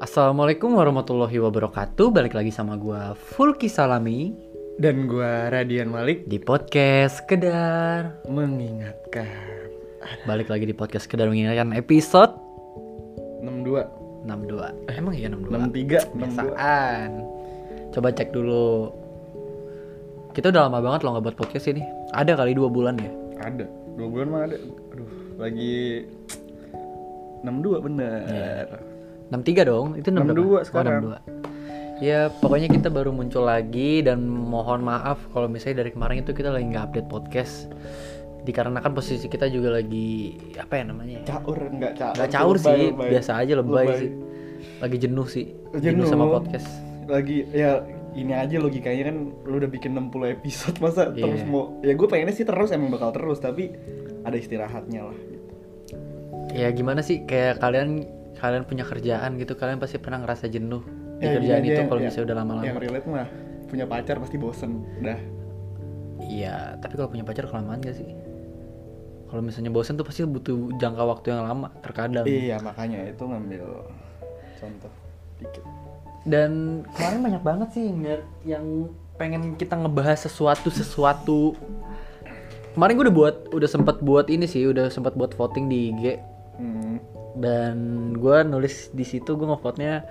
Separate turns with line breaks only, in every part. Assalamualaikum warahmatullahi wabarakatuh. Balik lagi sama gua Fulki Salami
Dan gua Radian Malik
di podcast Kedar.
mengingatkan
Balik lagi di podcast Kedar mengingatkan episode
62,
62. Eh, Emang iya 62.
63, 62.
Biasaan. Coba cek dulu. Kita udah lama banget loh nggak buat podcast ini. Ada kali dua bulan ya.
Ada, dua bulan mah ada Aduh, lagi 62 bener
Iya. 63 dong. Itu 62. Oh,
62 sekarang.
62. Ya, pokoknya kita baru muncul lagi dan mohon maaf kalau misalnya dari kemarin itu kita lagi nggak update podcast dikarenakan posisi kita juga lagi apa ya namanya? ya?
Caur, nggak caur
Nggak caur
Lebay,
sih,
lebay.
biasa aja lebay,
Lebay.
sih. Lagi jenuh sih.
Jenuh.
sama podcast.
Lagi, ya ini aja logikanya kan lu udah bikin 60 episode masa
Iya.
terus mau ya gue pengennya sih terus emang bakal terus tapi ada istirahatnya lah
Ya gimana sih kayak kalian kalian punya kerjaan gitu, kalian pasti pernah ngerasa jenuh di
Ya,
kerjaan
gini aja
itu
yang-
kalau
ya,
misalnya udah lama-lama.
yang relate mah punya pacar pasti bosen dah
Iya, tapi kalau punya pacar kelamaan gak sih? Kalau misalnya bosen tuh pasti butuh jangka waktu yang lama terkadang.
Iya makanya itu ngambil contoh dikit.
Dan kemarin banyak banget sih yang yang pengen kita ngebahas sesuatu sesuatu. Kemarin gue udah buat udah sempat buat ini sih, udah sempat buat voting di IG
Hmm.
dan gue nulis di situ gue ngevote-nya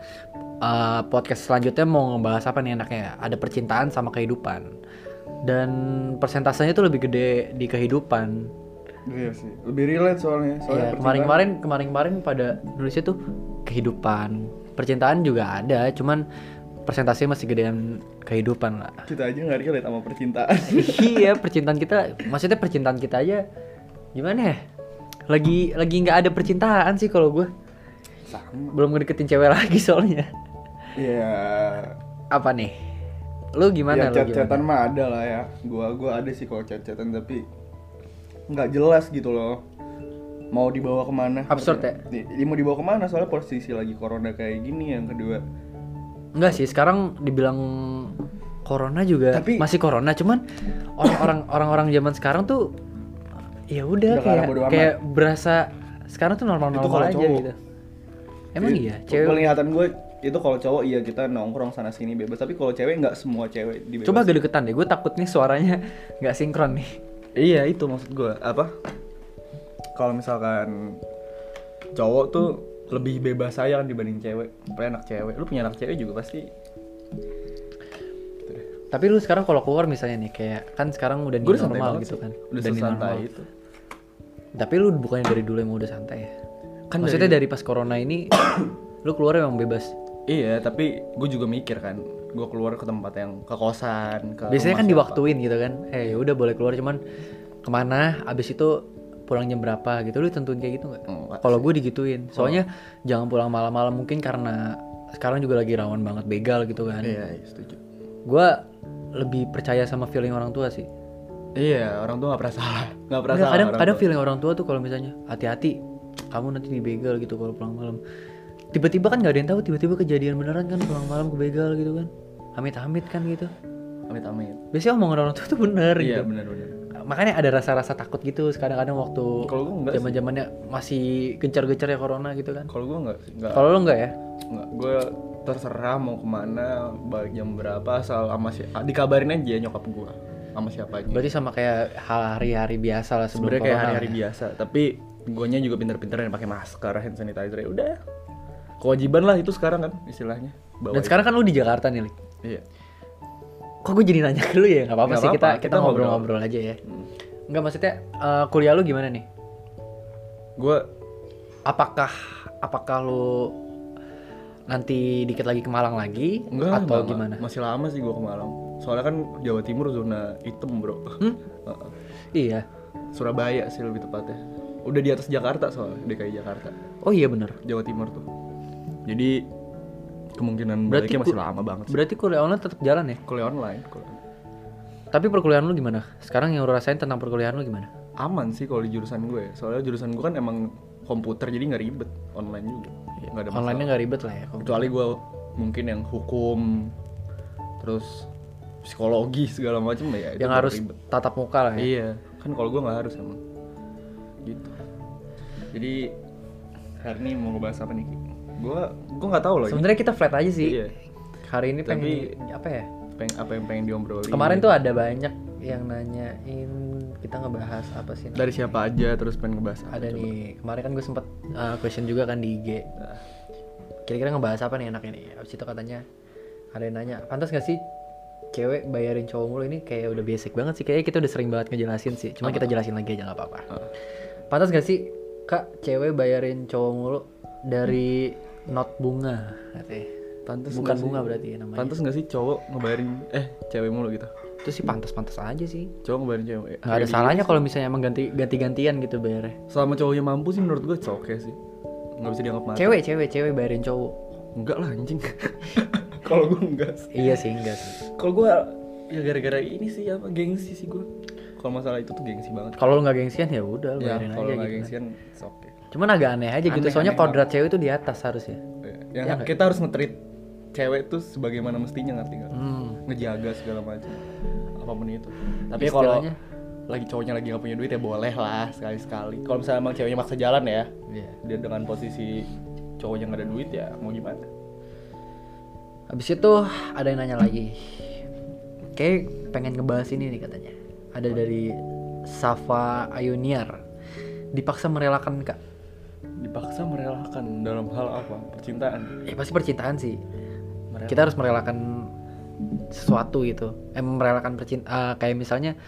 uh, podcast selanjutnya mau ngebahas apa nih enaknya ya? ada percintaan sama kehidupan dan persentasenya tuh lebih gede di kehidupan
Iya sih. Lebih relate soalnya. Soalnya
Iya,
percintaan.
kemarin-kemarin kemarin-kemarin pada nulisnya tuh kehidupan percintaan juga ada cuman persentasenya masih gedean kehidupan lah
kita aja nggak relate sama percintaan.
iya percintaan kita maksudnya percintaan kita aja gimana ya lagi lagi nggak ada percintaan sih kalau gue
Sama.
belum ngedeketin cewek lagi soalnya
Iya.
apa nih lu
Ya
gimana lu gimana?
chat-chatan mah ada lah ya. Gua gua ada sih kalau chat-chatan tapi nggak jelas gitu loh. Mau dibawa kemana?
Absurd ya?
Di- di- mau dibawa kemana? Soalnya posisi lagi corona kayak gini yang kedua.
Enggak sih, sekarang dibilang corona juga
Tapi-
masih corona, cuman orang-orang orang-orang zaman sekarang tuh ya udah
Udah karena
kayak
bodo amat.
kayak berasa sekarang tuh
Itu kalau
normal-normal aja
cowok.
gitu. Emang
Jadi,
iya, cewek.
Penglihatan gue itu kalau cowok iya kita nongkrong sana sini bebas tapi kalau cewek nggak semua cewek dibebas.
Coba gede deketan deh, gue takutnya suaranya nggak sinkron nih.
Iya itu maksud gue apa? Kalau misalkan cowok tuh lebih bebas saya kan dibanding cewek. Apalagi anak cewek. Lu punya anak cewek juga pasti.
Tapi lu sekarang kalau keluar misalnya nih kayak kan sekarang udah new
Gue udah santai
normal
banget
gitu
sih.
kan.
Udah
new
sesantai
normal.
itu.
Tapi lu bukannya dari dulu emang udah santai ya?
Kan
Maksudnya dari, pas corona ini lu keluar emang bebas.
Iya, tapi gue juga mikir kan. Gue keluar ke tempat yang ke kosan, ke
Biasanya
rumah
kan
siapa.
diwaktuin gitu kan. Eh udah boleh keluar cuman kemana? Abis itu pulang jam berapa gitu? Lu tentuin kayak gitu nggak?
Enggak
Kalau gue digituin.
Oh.
Soalnya jangan pulang malam-malam mungkin karena sekarang juga lagi rawan banget begal gitu kan.
Iya, iya, setuju.
Gue lebih percaya sama feeling orang tua sih.
Iya, orang tua gak pernah salah. Gak pernah
Nggak,
salah.
kadang
orang
kadang
tua.
feeling orang tua tuh kalau misalnya hati-hati kamu nanti dibegal gitu kalau pulang malam. Tiba-tiba kan nggak ada yang tahu tiba-tiba kejadian beneran kan pulang malam kebegal gitu kan. Amit-amit kan gitu.
Amit-amit.
Biasanya omongan orang tua tuh bener gitu.
Iya, benar-benar.
makanya ada rasa-rasa takut gitu kadang-kadang waktu
Kalau gue enggak sih.
zaman zamannya masih gencar-gencar ya corona gitu kan
Kalau gue enggak sih, enggak.
kalau lo nggak ya
Nggak, gue terserah mau kemana, balik jam berapa, asal sama si, ah, dikabarin aja nyokap gue sama siapa aja.
berarti sama kayak hari-hari biasa lah sebelum
Sebenarnya kayak
corona.
hari-hari biasa, tapi guanya juga pinter-pinter yang pakai masker, hand sanitizer, ya udah. Kewajiban lah itu sekarang kan istilahnya. Bawa
dan sekarang kan lu di Jakarta nih Lik.
itu. Iya.
kok gue jadi nanya ke lu ya nggak apa-apa
Nggak
sih kita
apa-apa,
kita
kita
ngobrol-ngobrol aja ya nggak maksudnya eh, kuliah lu gimana nih
Gue
apakah apakah lu nanti dikit lagi ke Malang lagi
enggak
atau
lama.
gimana
Masih lama sih gue ke Malang. Soalnya kan Jawa Timur zona hitam, Bro.
Hmm?
Heeh.
iya
Surabaya sih lebih tepatnya. Udah di atas Jakarta soalnya, DKI Jakarta.
oh iya bener
Jawa Timur tuh. Jadi kemungkinan
Berarti
baliknya
ku-
masih lama banget sih.
berarti kuliah online tetap jalan ya
Kuliah online, kuliah.
tapi perkuliahan lu gimana sekarang yang lu rasain tentang perkuliahan lu gimana
aman sih kalau di jurusan gue. Soalnya jurusan gue kan emang komputer jadi nggak ribet online juga. Nggak ada masalah.
Iya, online-nya nggak ribet lah ya kalau-
Kecuali gue mungkin yang hukum, terus psikologi segala macem ya. itu
yang
baru
harus
ribet.
tatap muka lah ya
Iya, kan kalau gue nggak harus emang. Gitu. Jadi hari ini mau ngebahas apa nih? Ki? gue gue nggak tahu loh ini.
Sebenarnya kita flat aja sih.
Iya.
Hari ini pengen
Tapi- Iya.
apa ya?
Peng- apa yang pengen diobrolin
Kemarin tuh ada banyak yang nanyain kita ngebahas apa sih?
dari siapa aja terus pengen ngebahas apa
ada
coba.
nih kemarin kan gue sempet uh, question juga kan di IG kira-kira ngebahas apa nih enaknya nih abis itu katanya ada yang nanya pantas gak sih cewek bayarin cowok mulu ini kayak udah basic banget sih kayaknya kita udah sering banget ngejelasin sih cuma kita jelasin lagi aja nggak apa-apa pantas gak sih kak cewek bayarin cowok mulu dari not bunga katanya
Pantes
bukan
nggak sih-
bunga berarti ya namanya
pantes nggak sih cowok ngebayarin eh cewek mulu gitu
itu sih pantas-pantas aja sih
cowok ngebayarin cewek Iya,
nggak ada salahnya kalau misalnya emang ganti ganti-gantian gitu bayarnya
selama cowoknya mampu sih menurut gue oke sih nggak bisa dianggap mati
cewek cewek cewek bayarin cowok
enggak lah anjing kalau gue enggak sih.
iya sih enggak sih
kalau gue ya gara-gara ini sih apa gengsi sih gue kalau masalah itu tuh gengsi banget
kalau lu nggak gengsian ya udah lu
ya
bayarin
kalau
aja
nggak
gitu
gengsian it's okay.
cuman agak aneh aja gitu
Aneh,
soalnya
aneh
kodrat cewek itu di atas harusnya
Ya, yang kita harus ngetrit cewek tuh sebagaimana mestinya ngerti nggak
hmm.
ngejaga segala macam apapun itu tapi
Tapi
kalau
istilahnya-
lagi cowoknya lagi nggak punya duit ya boleh lah sekali sekali kalau misalnya emang ceweknya maksa jalan ya
Iya.
dia dengan posisi cowoknya nggak ada duit ya mau gimana
habis itu ada yang nanya lagi kayak pengen ngebahas ini nih katanya ada dari Safa Ayuniar dipaksa merelakan kak
dipaksa merelakan dalam hal apa percintaan
ya pasti percintaan sih
Merelakan.
kita harus merelakan sesuatu gitu eh merelakan percintaan kayak misalnya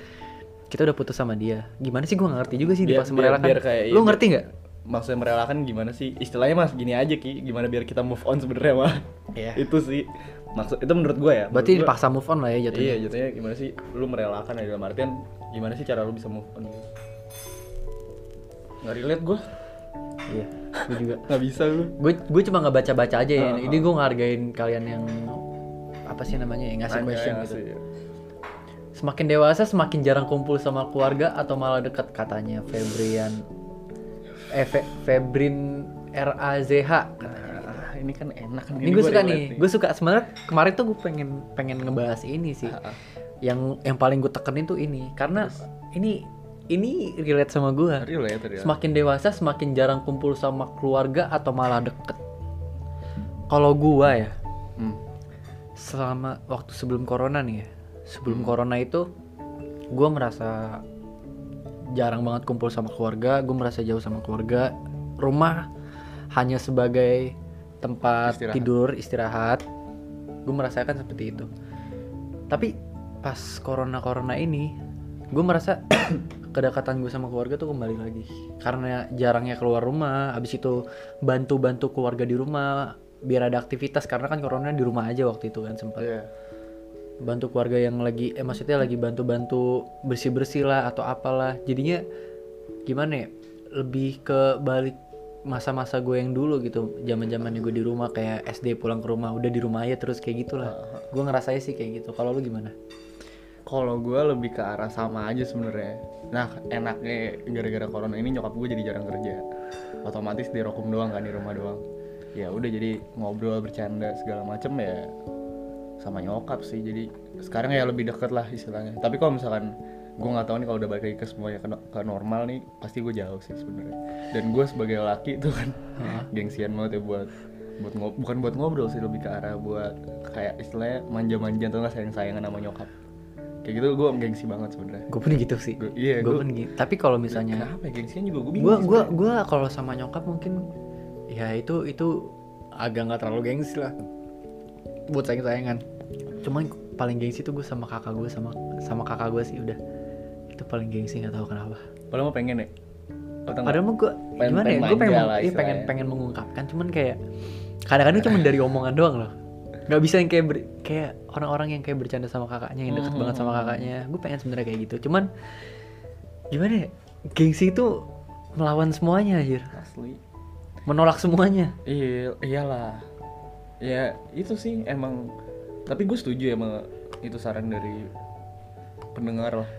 kita udah putus sama dia gimana sih gue ngerti juga sih
Biar-
dipaksa
biar-
merelakan
biar kayak-
lu
iya,
ngerti nggak
maksudnya merelakan gimana sih istilahnya mas gini aja ki gimana biar kita move on sebenarnya mah
Iya.
itu sih maksud itu menurut gue ya
berarti
menurut gua-
dipaksa move on lah ya jatuhnya
iya jatuhnya gimana sih lu merelakan ya dalam artian gimana sih cara lu bisa move on gitu. nggak relate gue
iya gue juga
nggak bisa lu
gue gue cuma nggak baca baca aja ya
Heeh.
ini gue ngargain kalian yang apa sih namanya yang ngasih
Nanya,
question
ngasih.
gitu semakin dewasa semakin jarang kumpul sama keluarga atau malah dekat katanya Febrian eh Fe- Febrin R A Z H
Ah, ini kan enak
ini gue
gua
suka
relate
nih gue suka sebenarnya kemarin tuh gue pengen pengen ngebahas ini sih
Heeh.
yang yang paling gue tekenin tuh ini karena ini ini relate sama gue
relate ya relate
Semakin dewasa semakin jarang kumpul sama keluarga atau malah deket. Kalau gua ya,
Hmm.
selama waktu sebelum corona nih ya, sebelum corona itu gua merasa jarang banget kumpul sama keluarga, gua merasa jauh sama keluarga. Rumah hanya sebagai tempat
Istirahat.
tidur, istirahat. Gue merasakan seperti itu. Tapi pas corona-corona ini, gue merasa kedekatan gue sama keluarga tuh kembali lagi karena jarangnya keluar rumah abis itu bantu-bantu keluarga di rumah biar ada aktivitas karena kan corona di rumah aja waktu itu kan sempat
Iya.
bantu keluarga yang lagi eh maksudnya lagi bantu-bantu bersih-bersih lah atau apalah jadinya gimana ya lebih ke balik masa-masa gue yang dulu gitu zaman-zamannya gue di rumah kayak SD pulang ke rumah udah di rumah aja terus kayak gitulah gue ngerasanya sih kayak gitu kalau lu gimana
Kalau gue lebih ke arah sama aja sebenarnya. Nah enaknya gara-gara corona ini nyokap gue jadi jarang kerja. Otomatis di rokum doang kan di rumah doang. Ya udah jadi ngobrol bercanda segala macem ya sama nyokap sih. Jadi sekarang ya lebih deket lah istilahnya. Tapi kalau misalkan gue nggak tahu nih kalau udah balik lagi ke semuanya ke, ke normal nih pasti gue jauh sih sebenarnya. Dan gue sebagai laki tuh kan gengsian banget ya buat buat ngob- bukan buat ngobrol sih lebih ke arah buat kayak istilahnya manja-manja atau nggak sayang-sayangan sama nyokap kayak gitu gue gengsi banget sebenarnya
gue pun gitu sih
Gua- iya,
gue
gua-
pun gitu tapi kalau misalnya
kenapa ya gengsian juga gue
gua gua gua kalau sama nyokap mungkin ya itu itu agak nggak terlalu gengsi lah buat sayang sayangan cuman paling gengsi tuh gue sama kakak gue sama sama kakak gue sih udah itu paling gengsi nggak tahu kenapa
padahal mah pengen ya Atau nggak?
padahal mah gue
Pengen-
gimana ya gue
pengen
pengen
manja
meng-
lah
iya, pengen
istilahnya.
pengen mengungkapkan cuman kayak kadang-kadang cuman dari omongan doang loh nggak bisa yang kayak ber- kayak orang-orang yang kayak bercanda sama kakaknya yang deket
Hmm.
banget sama kakaknya gue pengen sebenarnya kayak gitu cuman gimana ya gengsi itu melawan semuanya anjir
asli
menolak semuanya
iya iyalah ya itu sih emang tapi gue setuju ya sama itu saran dari pendengar lah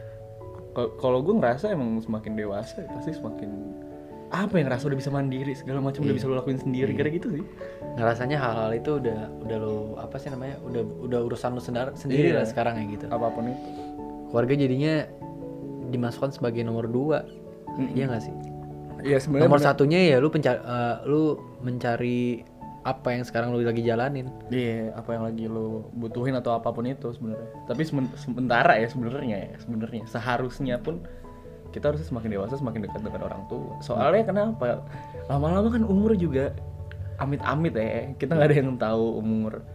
Ko- kalau gue ngerasa emang semakin dewasa pasti semakin apa yang ngerasa udah bisa mandiri segala macam
Iya.
udah bisa lo lakuin sendiri kira gitu sih
ngerasanya Nah, hal-hal itu udah udah lo apa sih namanya udah udah urusan lo sendar- sendiri
Iya.
lah sekarang ya gitu
apapun itu
keluarga jadinya dimasukkan sebagai nomor dua iya nggak sih
Iya sebenarnya
nomor
bener.
satunya ya lu penca- eh, lu mencari apa yang sekarang lu lagi jalanin
Iya, apa yang lagi lo butuhin atau apapun itu sebenarnya. Tapi semen- sementara ya sebenarnya ya, sebenarnya seharusnya pun kita harusnya semakin dewasa semakin dekat dengan orang tua.
Hmm.
Soalnya kenapa? Lama-lama kan umur juga amit-amit ya. Kita nggak ada yang tahu umur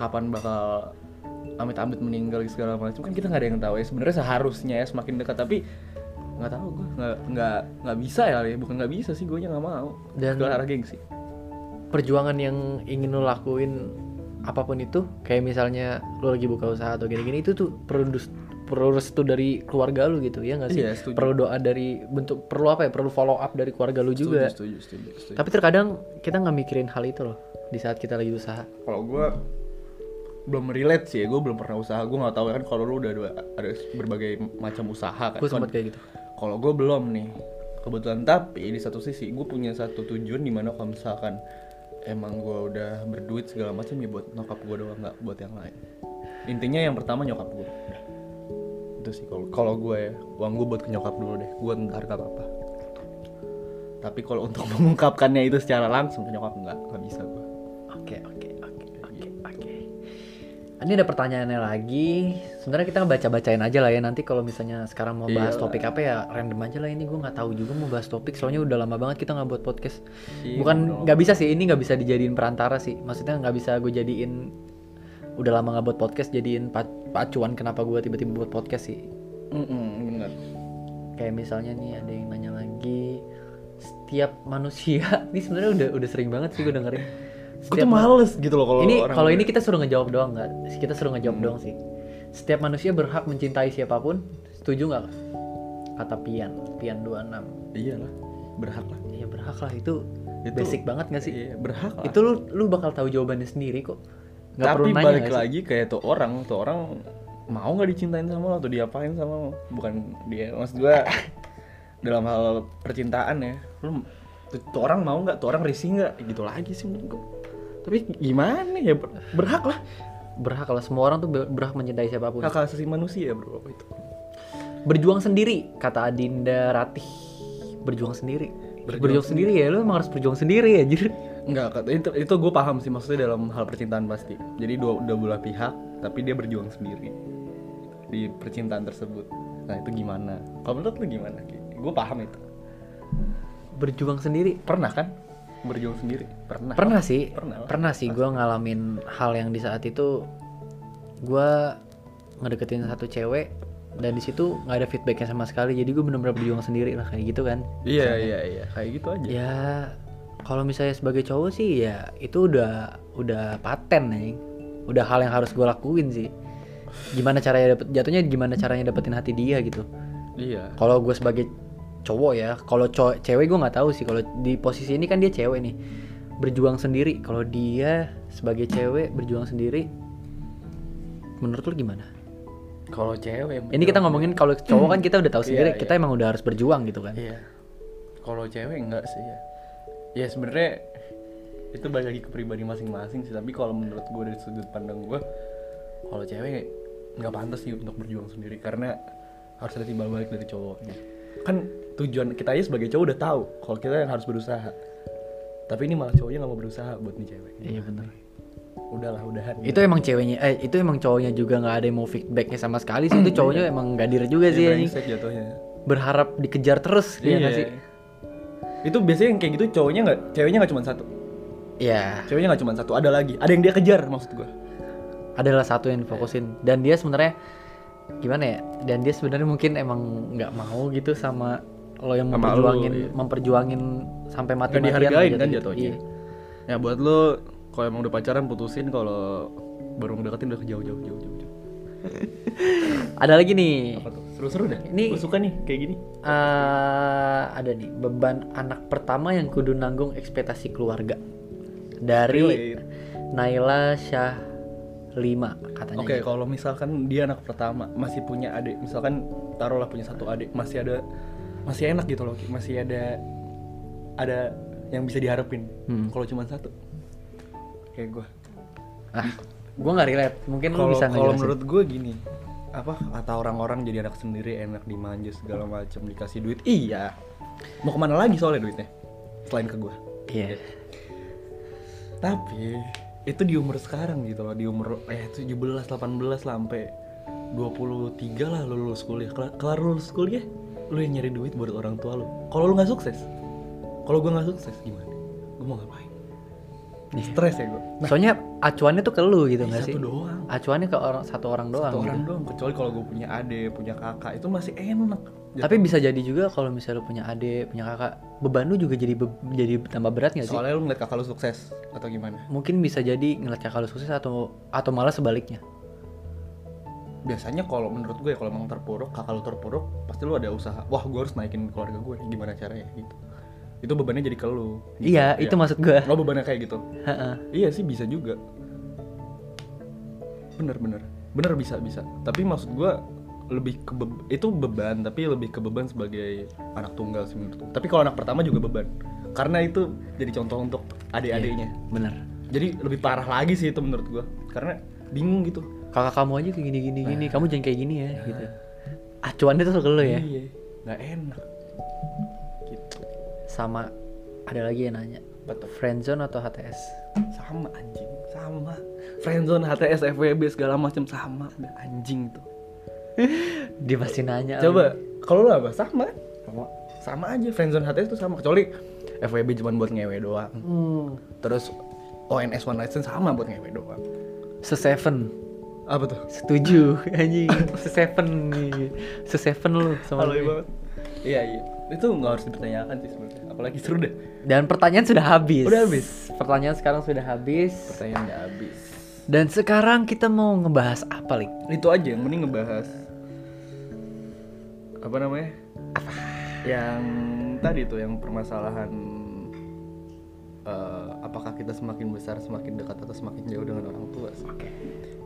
kapan bakal amit-amit meninggal segala macam kan kita nggak ada yang tahu ya sebenarnya seharusnya ya semakin dekat tapi nggak tahu gue nggak nggak nggak bisa ya Ali. bukan nggak bisa sih gue nggak mau
Dan-
ke arah gengsi
perjuangan yang ingin lu lakuin apapun itu kayak misalnya lu lagi buka usaha atau gini-gini itu tuh perlu dus- perlu restu dari keluarga lu gitu ya nggak sih
Iya, setuju.
perlu doa dari bentuk perlu apa ya perlu follow up dari keluarga lu juga
setuju setuju setuju
tapi terkadang kita nggak mikirin hal itu loh di saat kita lagi usaha
kalau gue belum relate sih ya, gue belum pernah usaha gue nggak tahu ya kan kalau lu udah ada, ada berbagai macam usaha kan
gue sempat kayak gitu
kalau gue belum nih kebetulan tapi di satu sisi gue punya satu tujuan dimana kalau misalkan emang gue udah berduit segala macam ya buat nyokap gue doang nggak buat yang lain intinya yang pertama nyokap gue itu sih kalau kalau gue ya uang gue buat ke nyokap dulu deh gue ntar gak apa tapi kalau untuk mengungkapkannya itu secara langsung ke nyokap nggak nggak bisa gue
Oke oke oke oke oke. Ini ada pertanyaannya lagi. Sebenarnya kita baca bacain aja lah ya nanti kalau misalnya sekarang mau bahas
Iya.
topik apa ya random aja lah ini gue nggak tahu juga mau bahas topik soalnya udah lama banget kita nggak buat podcast.
Iya,
Bukan
udah
nggak bisa sih ini nggak bisa dijadiin perantara sih. Maksudnya nggak bisa gue jadiin udah lama nggak buat podcast jadiin pa- pacuan kenapa gue tiba-tiba buat podcast sih.
Mm-mm, bener.
Kayak misalnya nih ada yang nanya lagi setiap manusia ini sebenarnya udah udah sering banget sih gue dengerin.
Gue
Setiap
tuh males gitu loh kalau
ini
orang Hmm.
kalau
gue-
ini kita suruh ngejawab doang nggak? Kita suruh ngejawab doang sih. Setiap manusia berhak mencintai siapapun. Setuju nggak? Kata Pian, Pian 26.
iyalah berhak lah.
Ya berhak lah itu.
Itu-
basic banget nggak sih?
Iya, berhak lah.
Itu lu lu bakal tahu jawabannya sendiri kok. Nggak
Tapi
perlu nanya
balik
nggak sih?
lagi kayak tuh orang, tuh orang mau nggak dicintain sama lo atau diapain sama lo? Bukan dia, maksud gua dalam hal percintaan ya. Lu tuh, tuh orang mau nggak? Tuh orang risih nggak? Gitu lagi sih menurut gua. Tapi gimana ya ber- berhak lah
Berhak lah semua orang tuh ber- berhak mencintai siapapun.
hak asasi manusia bro apa itu.
Berjuang sendiri kata Adinda Ratih. Berjuang sendiri. Berjuang,
Berjuang
sendiri ya lu emang harus berjuang sendiri ya anjir.
Enggak, Kak. itu, itu gue paham sih maksudnya dalam hal percintaan pasti. Jadi dua dua belah pihak, tapi dia berjuang sendiri di percintaan tersebut. Nah itu gimana? Kalau menurut lu gimana? Gue paham itu.
Berjuang sendiri
Pernah kan berjuang sendiri? Pernah.
pernah sih
Nah, Pernah
pernah,
lah.
sih gue ngalamin hal yang di saat itu gue ngedeketin satu cewek dan di situ nggak ada feedbacknya sama sekali jadi gue bener-bener berjuang sendiri lah kayak gitu kan
Iya iya iya kayak gitu aja.
ya kalau misalnya sebagai cowok sih ya itu udah udah paten nih udah hal yang harus gue lakuin sih gimana caranya dapet jatuhnya gimana caranya dapetin hati dia gitu
Iya.
kalau gue sebagai cowok ya kalau cow- cewek gue nggak tahu sih kalau di posisi ini kan dia cewek nih berjuang sendiri kalau dia sebagai cewek berjuang sendiri menurut lu gimana
Kalau cewek
ini kita ngomongin kalau cowok kan kita udah tahu
Iya,
sendiri
iya.
kita emang udah harus berjuang gitu kan
Iya. Kalau cewek enggak sih ya. Ya sebenarnya itu balik lagi ke pribadi masing-masing sih. Tapi kalau menurut gue dari sudut pandang gue, kalau cewek nggak pantas sih untuk berjuang sendiri karena harus ada timbal balik dari cowoknya. Kan tujuan kita aja sebagai cowok udah tahu kalau kita yang harus berusaha. Tapi ini malah cowoknya nggak mau berusaha buat nih cewek.
iya benar
Udahlah, udahan.
itu emang ceweknya eh itu emang cowoknya juga nggak ada yang mau feedbacknya sama sekali sih itu
Iya.
cowoknya emang gadir juga
Dia
sih anjing.
brengsek jatuhnya.
berharap dikejar terus dia
Iya.
nggak sih
Itu biasanya yang kayak gitu cowoknya nggak, ceweknya nggak cuma satu.
ya
Ceweknya nggak cuma satu, ada lagi. Ada yang dia kejar maksud gua.
adalah satu yang
Iya.
difokusin dan dia sebenarnya gimana ya dan dia sebenarnya mungkin emang nggak mau gitu sama lo yang
Sama
memperjuangin
lo, iya.
memperjuangin sampai mati
Nggak
matian gitu. iya.
dihargain kan jatuhnya. Ya buat lo kalau emang udah pacaran putusin kalau baru ngedeketin udah jauh jauh jauh jauh. jauh.
ada lagi nih
Apa tuh? Seru-seru dah.
Ini-
Gua suka nih kayak gini.
eh, ada nih beban anak pertama yang kudu nanggung ekspektasi keluarga dari
Relate.
Naila Syah 5 katanya
Oke, kalau misalkan dia anak pertama masih punya adik, misalkan taruhlah punya satu adik, masih ada masih enak gitu loh, Ki. masih ada ada yang bisa diharapin.
Hmm.
Kalau cuma satu, kayak gua.
ah gue nggak relate mungkin lo
kalau
bisa
kalau
ngejelasin.
menurut gue gini apa kata orang-orang jadi anak sendiri enak dimanja segala macam dikasih duit iya mau kemana lagi soalnya duitnya selain ke gue
iya
tapi itu di umur sekarang gitu loh di umur eh 17 18 lah sampai 23 lah lu lulus kuliah kelar, kelar lulus kuliah lu yang nyari duit buat orang tua lu kalau lu nggak sukses kalau gua nggak sukses gimana gua mau ngapain stres ya gua
Soalnya acuannya tuh ke lu gitu
Ih,
nggak sih?
satu doang
Acuannya ke orang satu orang doang.
satu orang
gitu.
doang kecuali kalau gua punya ade punya kakak itu masih enak
Tapi bisa jadi juga kalau misalnya lu punya adik, punya kakak, beban lu juga jadi be- jadi tambah berat nggak sih?
soalnya lu ngeliat kakak lu sukses atau gimana
Mungkin bisa jadi ngeliat kakak lu sukses atau atau malah sebaliknya.
biasanya kalau menurut gue ya, kalau emang terpuruk kakak lu terpuruk pasti lu ada usaha wah gue harus naikin keluarga gue gimana caranya gitu itu bebannya jadi ke lu gitu.
Iya, itu maksud gua.
lo bebannya kayak gitu
Heeh.
iya sih bisa juga bener bener bener bisa bisa tapi maksud gue lebih ke beb- itu beban tapi lebih ke beban sebagai anak tunggal sih menurut gue. tapi kalau anak pertama juga beban karena itu jadi contoh untuk adik-adiknya
Bener.
jadi lebih parah lagi sih itu menurut gue karena bingung gitu
Kakak kamu aja kayak gini gini gini, kamu jangan kayak gini ya
Nah.
gitu. Acuannya tuh ke lu ya.
iya nggak enak gitu
Sama ada lagi yang nanya.
Betul.
Friendzone atau HTS?
sama anjing sama friendzone HTS FWB segala macam sama udah anjing tuh
Dia pasti nanya.
Coba kalau lu apa? Sama kan? Iya. Sama. Sama aja friendzone HTS tuh sama kecuali FWB cuma buat ngewe doang.
Hmm.
Terus ONS one night stand sama buat ngewe doang.
Seseven.
Apa tuh?
Setuju, anjing. Seseven nih. Seseven lu sama
Halo
gue.
banget. Iya iya. Itu nggak harus dipertanyakan sih sebenarnya. Apalagi seru deh.
Dan pertanyaan sudah habis.
Udah habis.
Pertanyaan sekarang sudah habis.
Pertanyaan nggak habis.
Dan sekarang kita mau ngebahas apa, Lik?
Itu aja yang mending ngebahas apa namanya? Yang tadi tuh yang permasalahan eh, apakah kita semakin besar semakin dekat atau semakin jauh dengan orang tua sih.
Oke.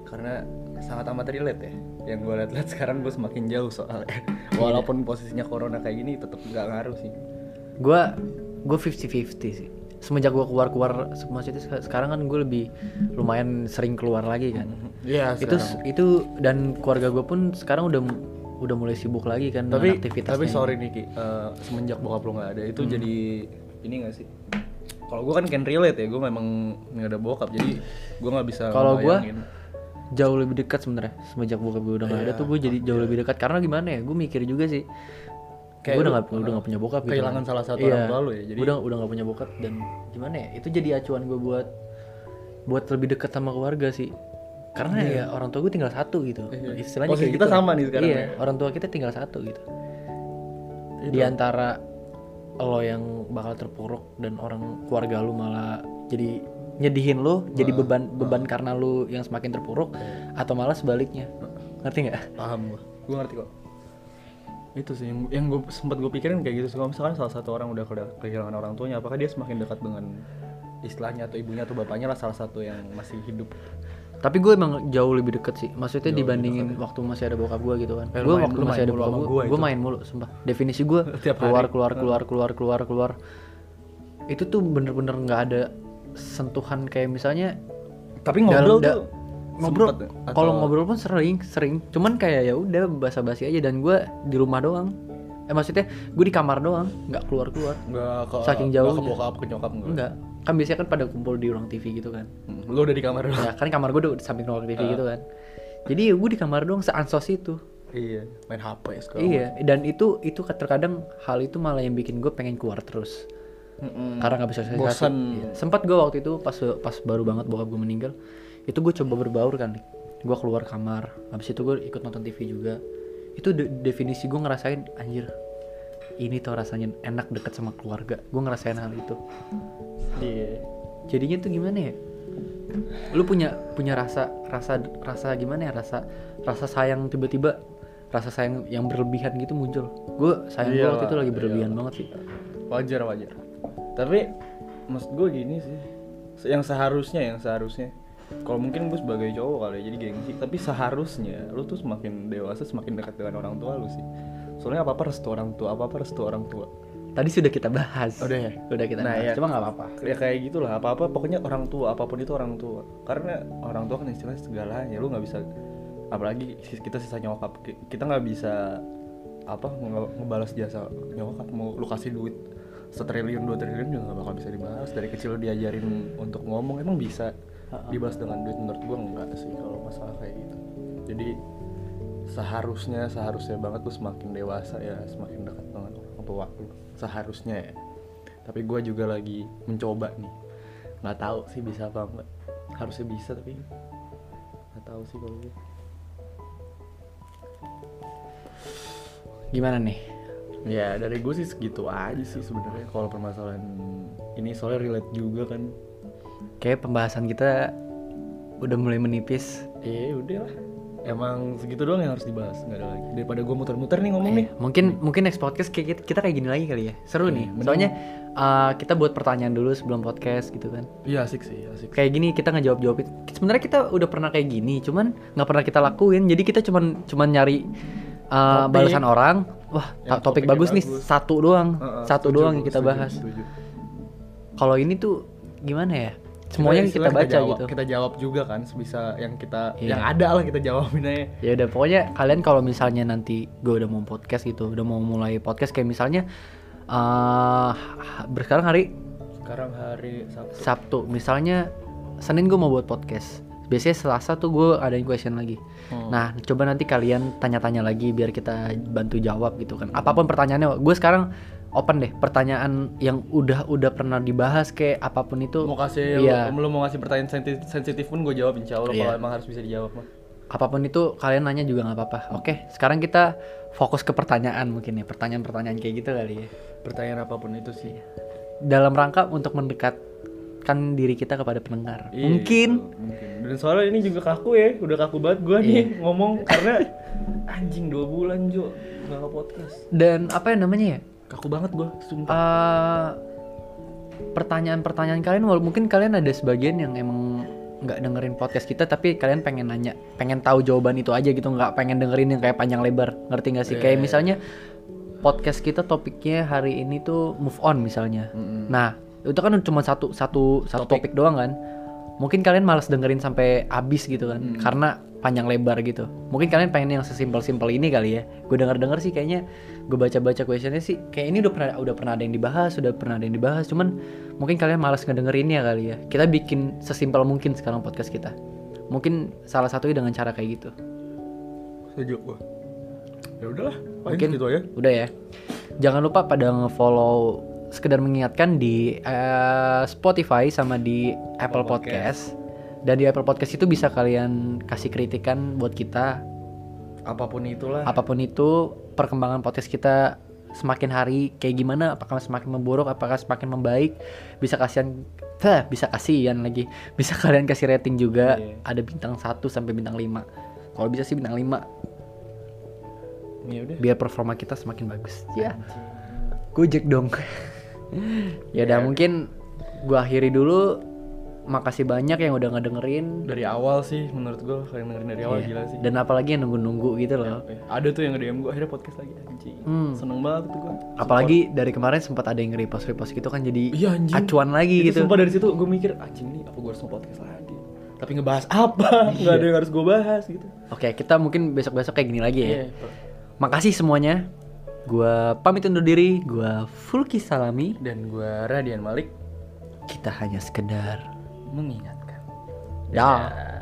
karena sangat amat relate ya yang gue liat-liat sekarang gue semakin jauh soalnya walaupun posisinya corona kayak gini tetap nggak ngaruh sih
Gua gua 50-50 sih. Semenjak gua keluar-keluar maksudnya sek- sekarang kan gue lebih lumayan sering keluar lagi kan.
iya
Itu itu dan keluarga gue pun sekarang udah udah mulai sibuk lagi kan dengan
tapi
aktivitasnya.
tapi sorry Niki eh, semenjak bokap lo nggak ada itu jadi ini nggak sih kalau gue kan can relate ya gue memang nggak ada bokap jadi gue nggak bisa
Kalau gua-
ngebayangin.
jauh lebih dekat sebenarnya semenjak bokap gue udah gak
Iya,
ada tuh gue jadi jauh lebih dekat karena gimana ya gue mikir juga sih
Kayak
gue udah
lu,
gak udah gak punya bokap gitu
kehilangan salah satu
Iya,
orang tua lu ya, jadi-
udah udah gak punya bokap dan gimana ya itu jadi acuan gue buat buat lebih dekat sama keluarga sih karena ya orang tua gue tinggal satu gitu
Iya.
istilahnya
Posisi
kayak
kita
gitu.
sama nih sekarang
iya,
ya. Iya.
orang tua kita tinggal satu gitu
Itu.
di antara lo yang bakal terpuruk dan orang keluarga lu malah jadi nyedihin lu jadi beban beban karena lu yang semakin terpuruk
Iya.
atau malah sebaliknya ngerti nggak
paham gue gue ngerti kok itu sih yang, yang gue sempat gue pikirin kayak gitu sih kalau misalkan salah satu orang udah ke- kehilangan orang tuanya apakah dia semakin dekat dengan istilahnya atau ibunya atau bapaknya lah salah satu yang masih hidup
tapi gue emang jauh lebih deket sih maksudnya dibandingin waktu masih ada bokap gue gitu kan
Eh, lu
gue
main-
waktu
lu
masih
main
ada
mulu
bokap
sama
gue
gua
gue main mulu sumpah definisi gue
Tiap hari.
keluar keluar keluar keluar keluar keluar itu tuh bener-bener nggak ada sentuhan kayak misalnya
tapi
Dalam-
ngobrol tuh
ngobrol
sempet ya?
kalau
Atau-
ngobrol pun sering sering cuman kayak ya udah basa-basi aja dan gue di rumah doang eh maksudnya gue di kamar doang nggak keluar keluar
nggak ke
Saking
nggak ke
jauhnya.
bokap ke nyokap nggak
enggak kan biasanya kan pada kumpul di ruang TV gitu kan
Hmm, lu udah di kamar dulu
ya kan kamar gue udah samping ruang TV gitu kan jadi ya gue di kamar doang seansos itu
iya main hp sekarang
iya dan itu itu terkadang hal itu malah yang bikin gue pengen keluar terus
Mm-mm.
karena nggak bisa
Hmm.
Iya.
Bosen.
sempat gue waktu itu pas pas baru banget bokap gue meninggal itu gue coba berbaur kan gue keluar kamar habis itu gue ikut nonton TV juga itu de- definisi gue ngerasain anjir ini tuh rasanya enak deket sama keluarga gue ngerasain hal itu
iya
jadinya tuh gimana ya lu punya punya rasa rasa rasa gimana ya rasa rasa sayang tiba-tiba rasa sayang yang berlebihan gitu muncul gue sayang gue waktu
Iyalah,
itu lagi berlebihan banget sih
wajar wajar tapi maksud gue gini sih se- yang seharusnya yang seharusnya kalau mungkin gue sebagai cowok kali ya, jadi gengsi tapi seharusnya lu tuh semakin dewasa semakin dekat dengan orang tua lu sih soalnya apa apa restu orang tua apa apa restu orang tua
tadi sudah kita bahas
Udah ya?
udah kita
Nah,
bahas
ya.
cuma nggak apa-apa
ya kayak gitulah apa apa pokoknya orang tua apapun itu orang tua karena orang tua kan istilahnya segalanya lu nggak bisa apalagi sis- kita sisa nyokap Ki- kita nggak bisa apa nge- ngebalas jasa nyokap mau lu kasih duit setriliun dua triliun juga gak bakal bisa dibalas dari kecil lo diajarin untuk ngomong emang bisa dibalas dengan duit menurut gua enggak sih kalau masalah kayak gitu jadi seharusnya seharusnya banget tuh semakin dewasa ya semakin dekat dengan orang tua lu seharusnya ya tapi gua juga lagi mencoba nih nggak tahu sih bisa apa enggak harusnya bisa tapi nggak tahu sih kalau gitu. gua.
Gimana nih?
Ya dari gue sih segitu aja sih sebenarnya kalau permasalahan ini soalnya relate juga kan.
Kayak pembahasan kita udah mulai menipis.
Eh udah lah. Emang segitu doang yang harus dibahas nggak ada lagi. Iya. Daripada gue muter-muter nih ngomong nih.
Eh, mungkin mungkin next podcast kayak kita, kita kayak gini lagi kali ya. Seru nih.
Iya, bener.
Soalnya uh, kita buat pertanyaan dulu sebelum podcast gitu kan.
Iya asik sih asik.
Kayak gini kita ngejawab jawab Sebenarnya kita udah pernah kayak gini, cuman nggak pernah kita lakuin. Jadi kita cuman cuman nyari uh,
Topik.
balasan orang. Wah,
Yang
topik
topiknya
bagus nih
bagus.
satu doang,
Heeh,
satu
setuju,
doang yang kita
setuju,
bahas.
setuju.
Kalau ini tuh gimana ya? Semuanya kita,
istilahnya
baca
jawab-
gitu.
Kita jawab juga kan sebisa yang kita
Iya.
yang ada lah kita jawabin aja.
ya udah pokoknya kalian kalau misalnya nanti gue udah mau podcast gitu udah mau mulai podcast kayak misalnya eh bersekarang hari
Sekarang hari Sabtu.
Sabtu misalnya Senin gue mau buat podcast biasanya Selasa tuh gue adain question lagi
Hmm.
nah coba nanti kalian tanya-tanya lagi biar kita bantu jawab gitu kan apapun pertanyaannya gue sekarang open deh pertanyaan yang udah udah pernah dibahas kayak apapun itu
mau kan? kasih
Iya.
lu, lu mau ngasih pertanyaan senti- sensitif pun gue jawab insya Allah
Iya.
kalau emang harus bisa dijawab mah.
apapun itu kalian nanya juga nggak apa-apa oke sekarang kita fokus ke pertanyaan mungkin ya pertanyaan-pertanyaan kayak gitu kali ya
Pertanyaan apapun itu sih.
dalam rangka untuk mendekatkan diri kita kepada pendengar.
Iya,
Mungkin
gitu, mungkin. Dan soalnya ini juga kaku ya, udah kaku banget gua
Iya.
nih ngomong karena anjing dua bulan Jo nggak nge podcast.
dan apa yang namanya ya?
Kaku banget gua, sumpah.
Eh, pertanyaan-pertanyaan kalian walaupun mungkin kalian ada sebagian yang emang nggak dengerin podcast kita tapi kalian pengen nanya, pengen tahu jawaban itu aja gitu, nggak pengen dengerin yang kayak panjang lebar. Ngerti nggak sih?
Iya,
Kayak
iya,
misalnya podcast kita topiknya hari ini tuh move on misalnya.
Mm-mm.
Nah, itu kan cuma satu satu satu topik,
Topik.
doang kan. Mungkin kalian malas dengerin sampai habis gitu kan karena panjang lebar gitu. Mungkin kalian pengen yang sesimpel-simpel ini kali ya. Gue denger-denger sih kayaknya gue baca-baca questionnya sih kayak ini udah pernah udah pernah ada yang dibahas, udah pernah ada yang dibahas, cuman mungkin kalian malas ngedengerinnya kali ya. Kita bikin sesimpel mungkin sekarang podcast kita. Mungkin salah satunya dengan cara kayak gitu.
Setuju gua. Ya udahlah,
Mungkin-
mungkin gitu ya.
Udah ya. Jangan lupa pada nge-follow sekedar mengingatkan di eh, Spotify sama di Apple
Apple
Podcast. Dan di Apple Podcast itu bisa kalian kasih kritikan buat kita
Apapun itulah.
apapun itu perkembangan podcast kita semakin hari kayak gimana apakah semakin memburuk apakah semakin membaik bisa kasihan Hah, bisa kasihan lagi bisa kalian kasih rating juga
Iya.
ada bintang 1 sampai bintang 5 kalau bisa sih bintang 5
Ya udah.
biar performa kita semakin bagus ya
Anjing.
Gojek dong. ya udah
Ya.
mungkin gua akhiri dulu. Makasih banyak yang udah ngedengerin.
Dari awal sih menurut gua kalian dengerin dari awal
Iya.
gila sih.
Dan apalagi yang nunggu-nunggu gitu loh.
Eh, Ada tuh yang nge-DM gua akhirnya podcast lagi anjing.
Hmm.
Seneng banget tuh gua.
Apalagi dari kemarin sempat ada yang nge-repost-repost gitu kan jadi
Iya, anjing.
acuan lagi
Itu
gitu.
sumpah dari situ gue mikir anjing nih apa gue harus nge-podcast lagi tapi ngebahas apa
Iya.
nggak ada yang harus gue bahas gitu
Oke, kita mungkin besok-besok kayak gini lagi ya.
Iya.
Makasih semuanya. Gua pamit undur diri. Gua Fulki Salami.
dan gue Radian Malik
Kita hanya sekedar
mengingatkan
dah.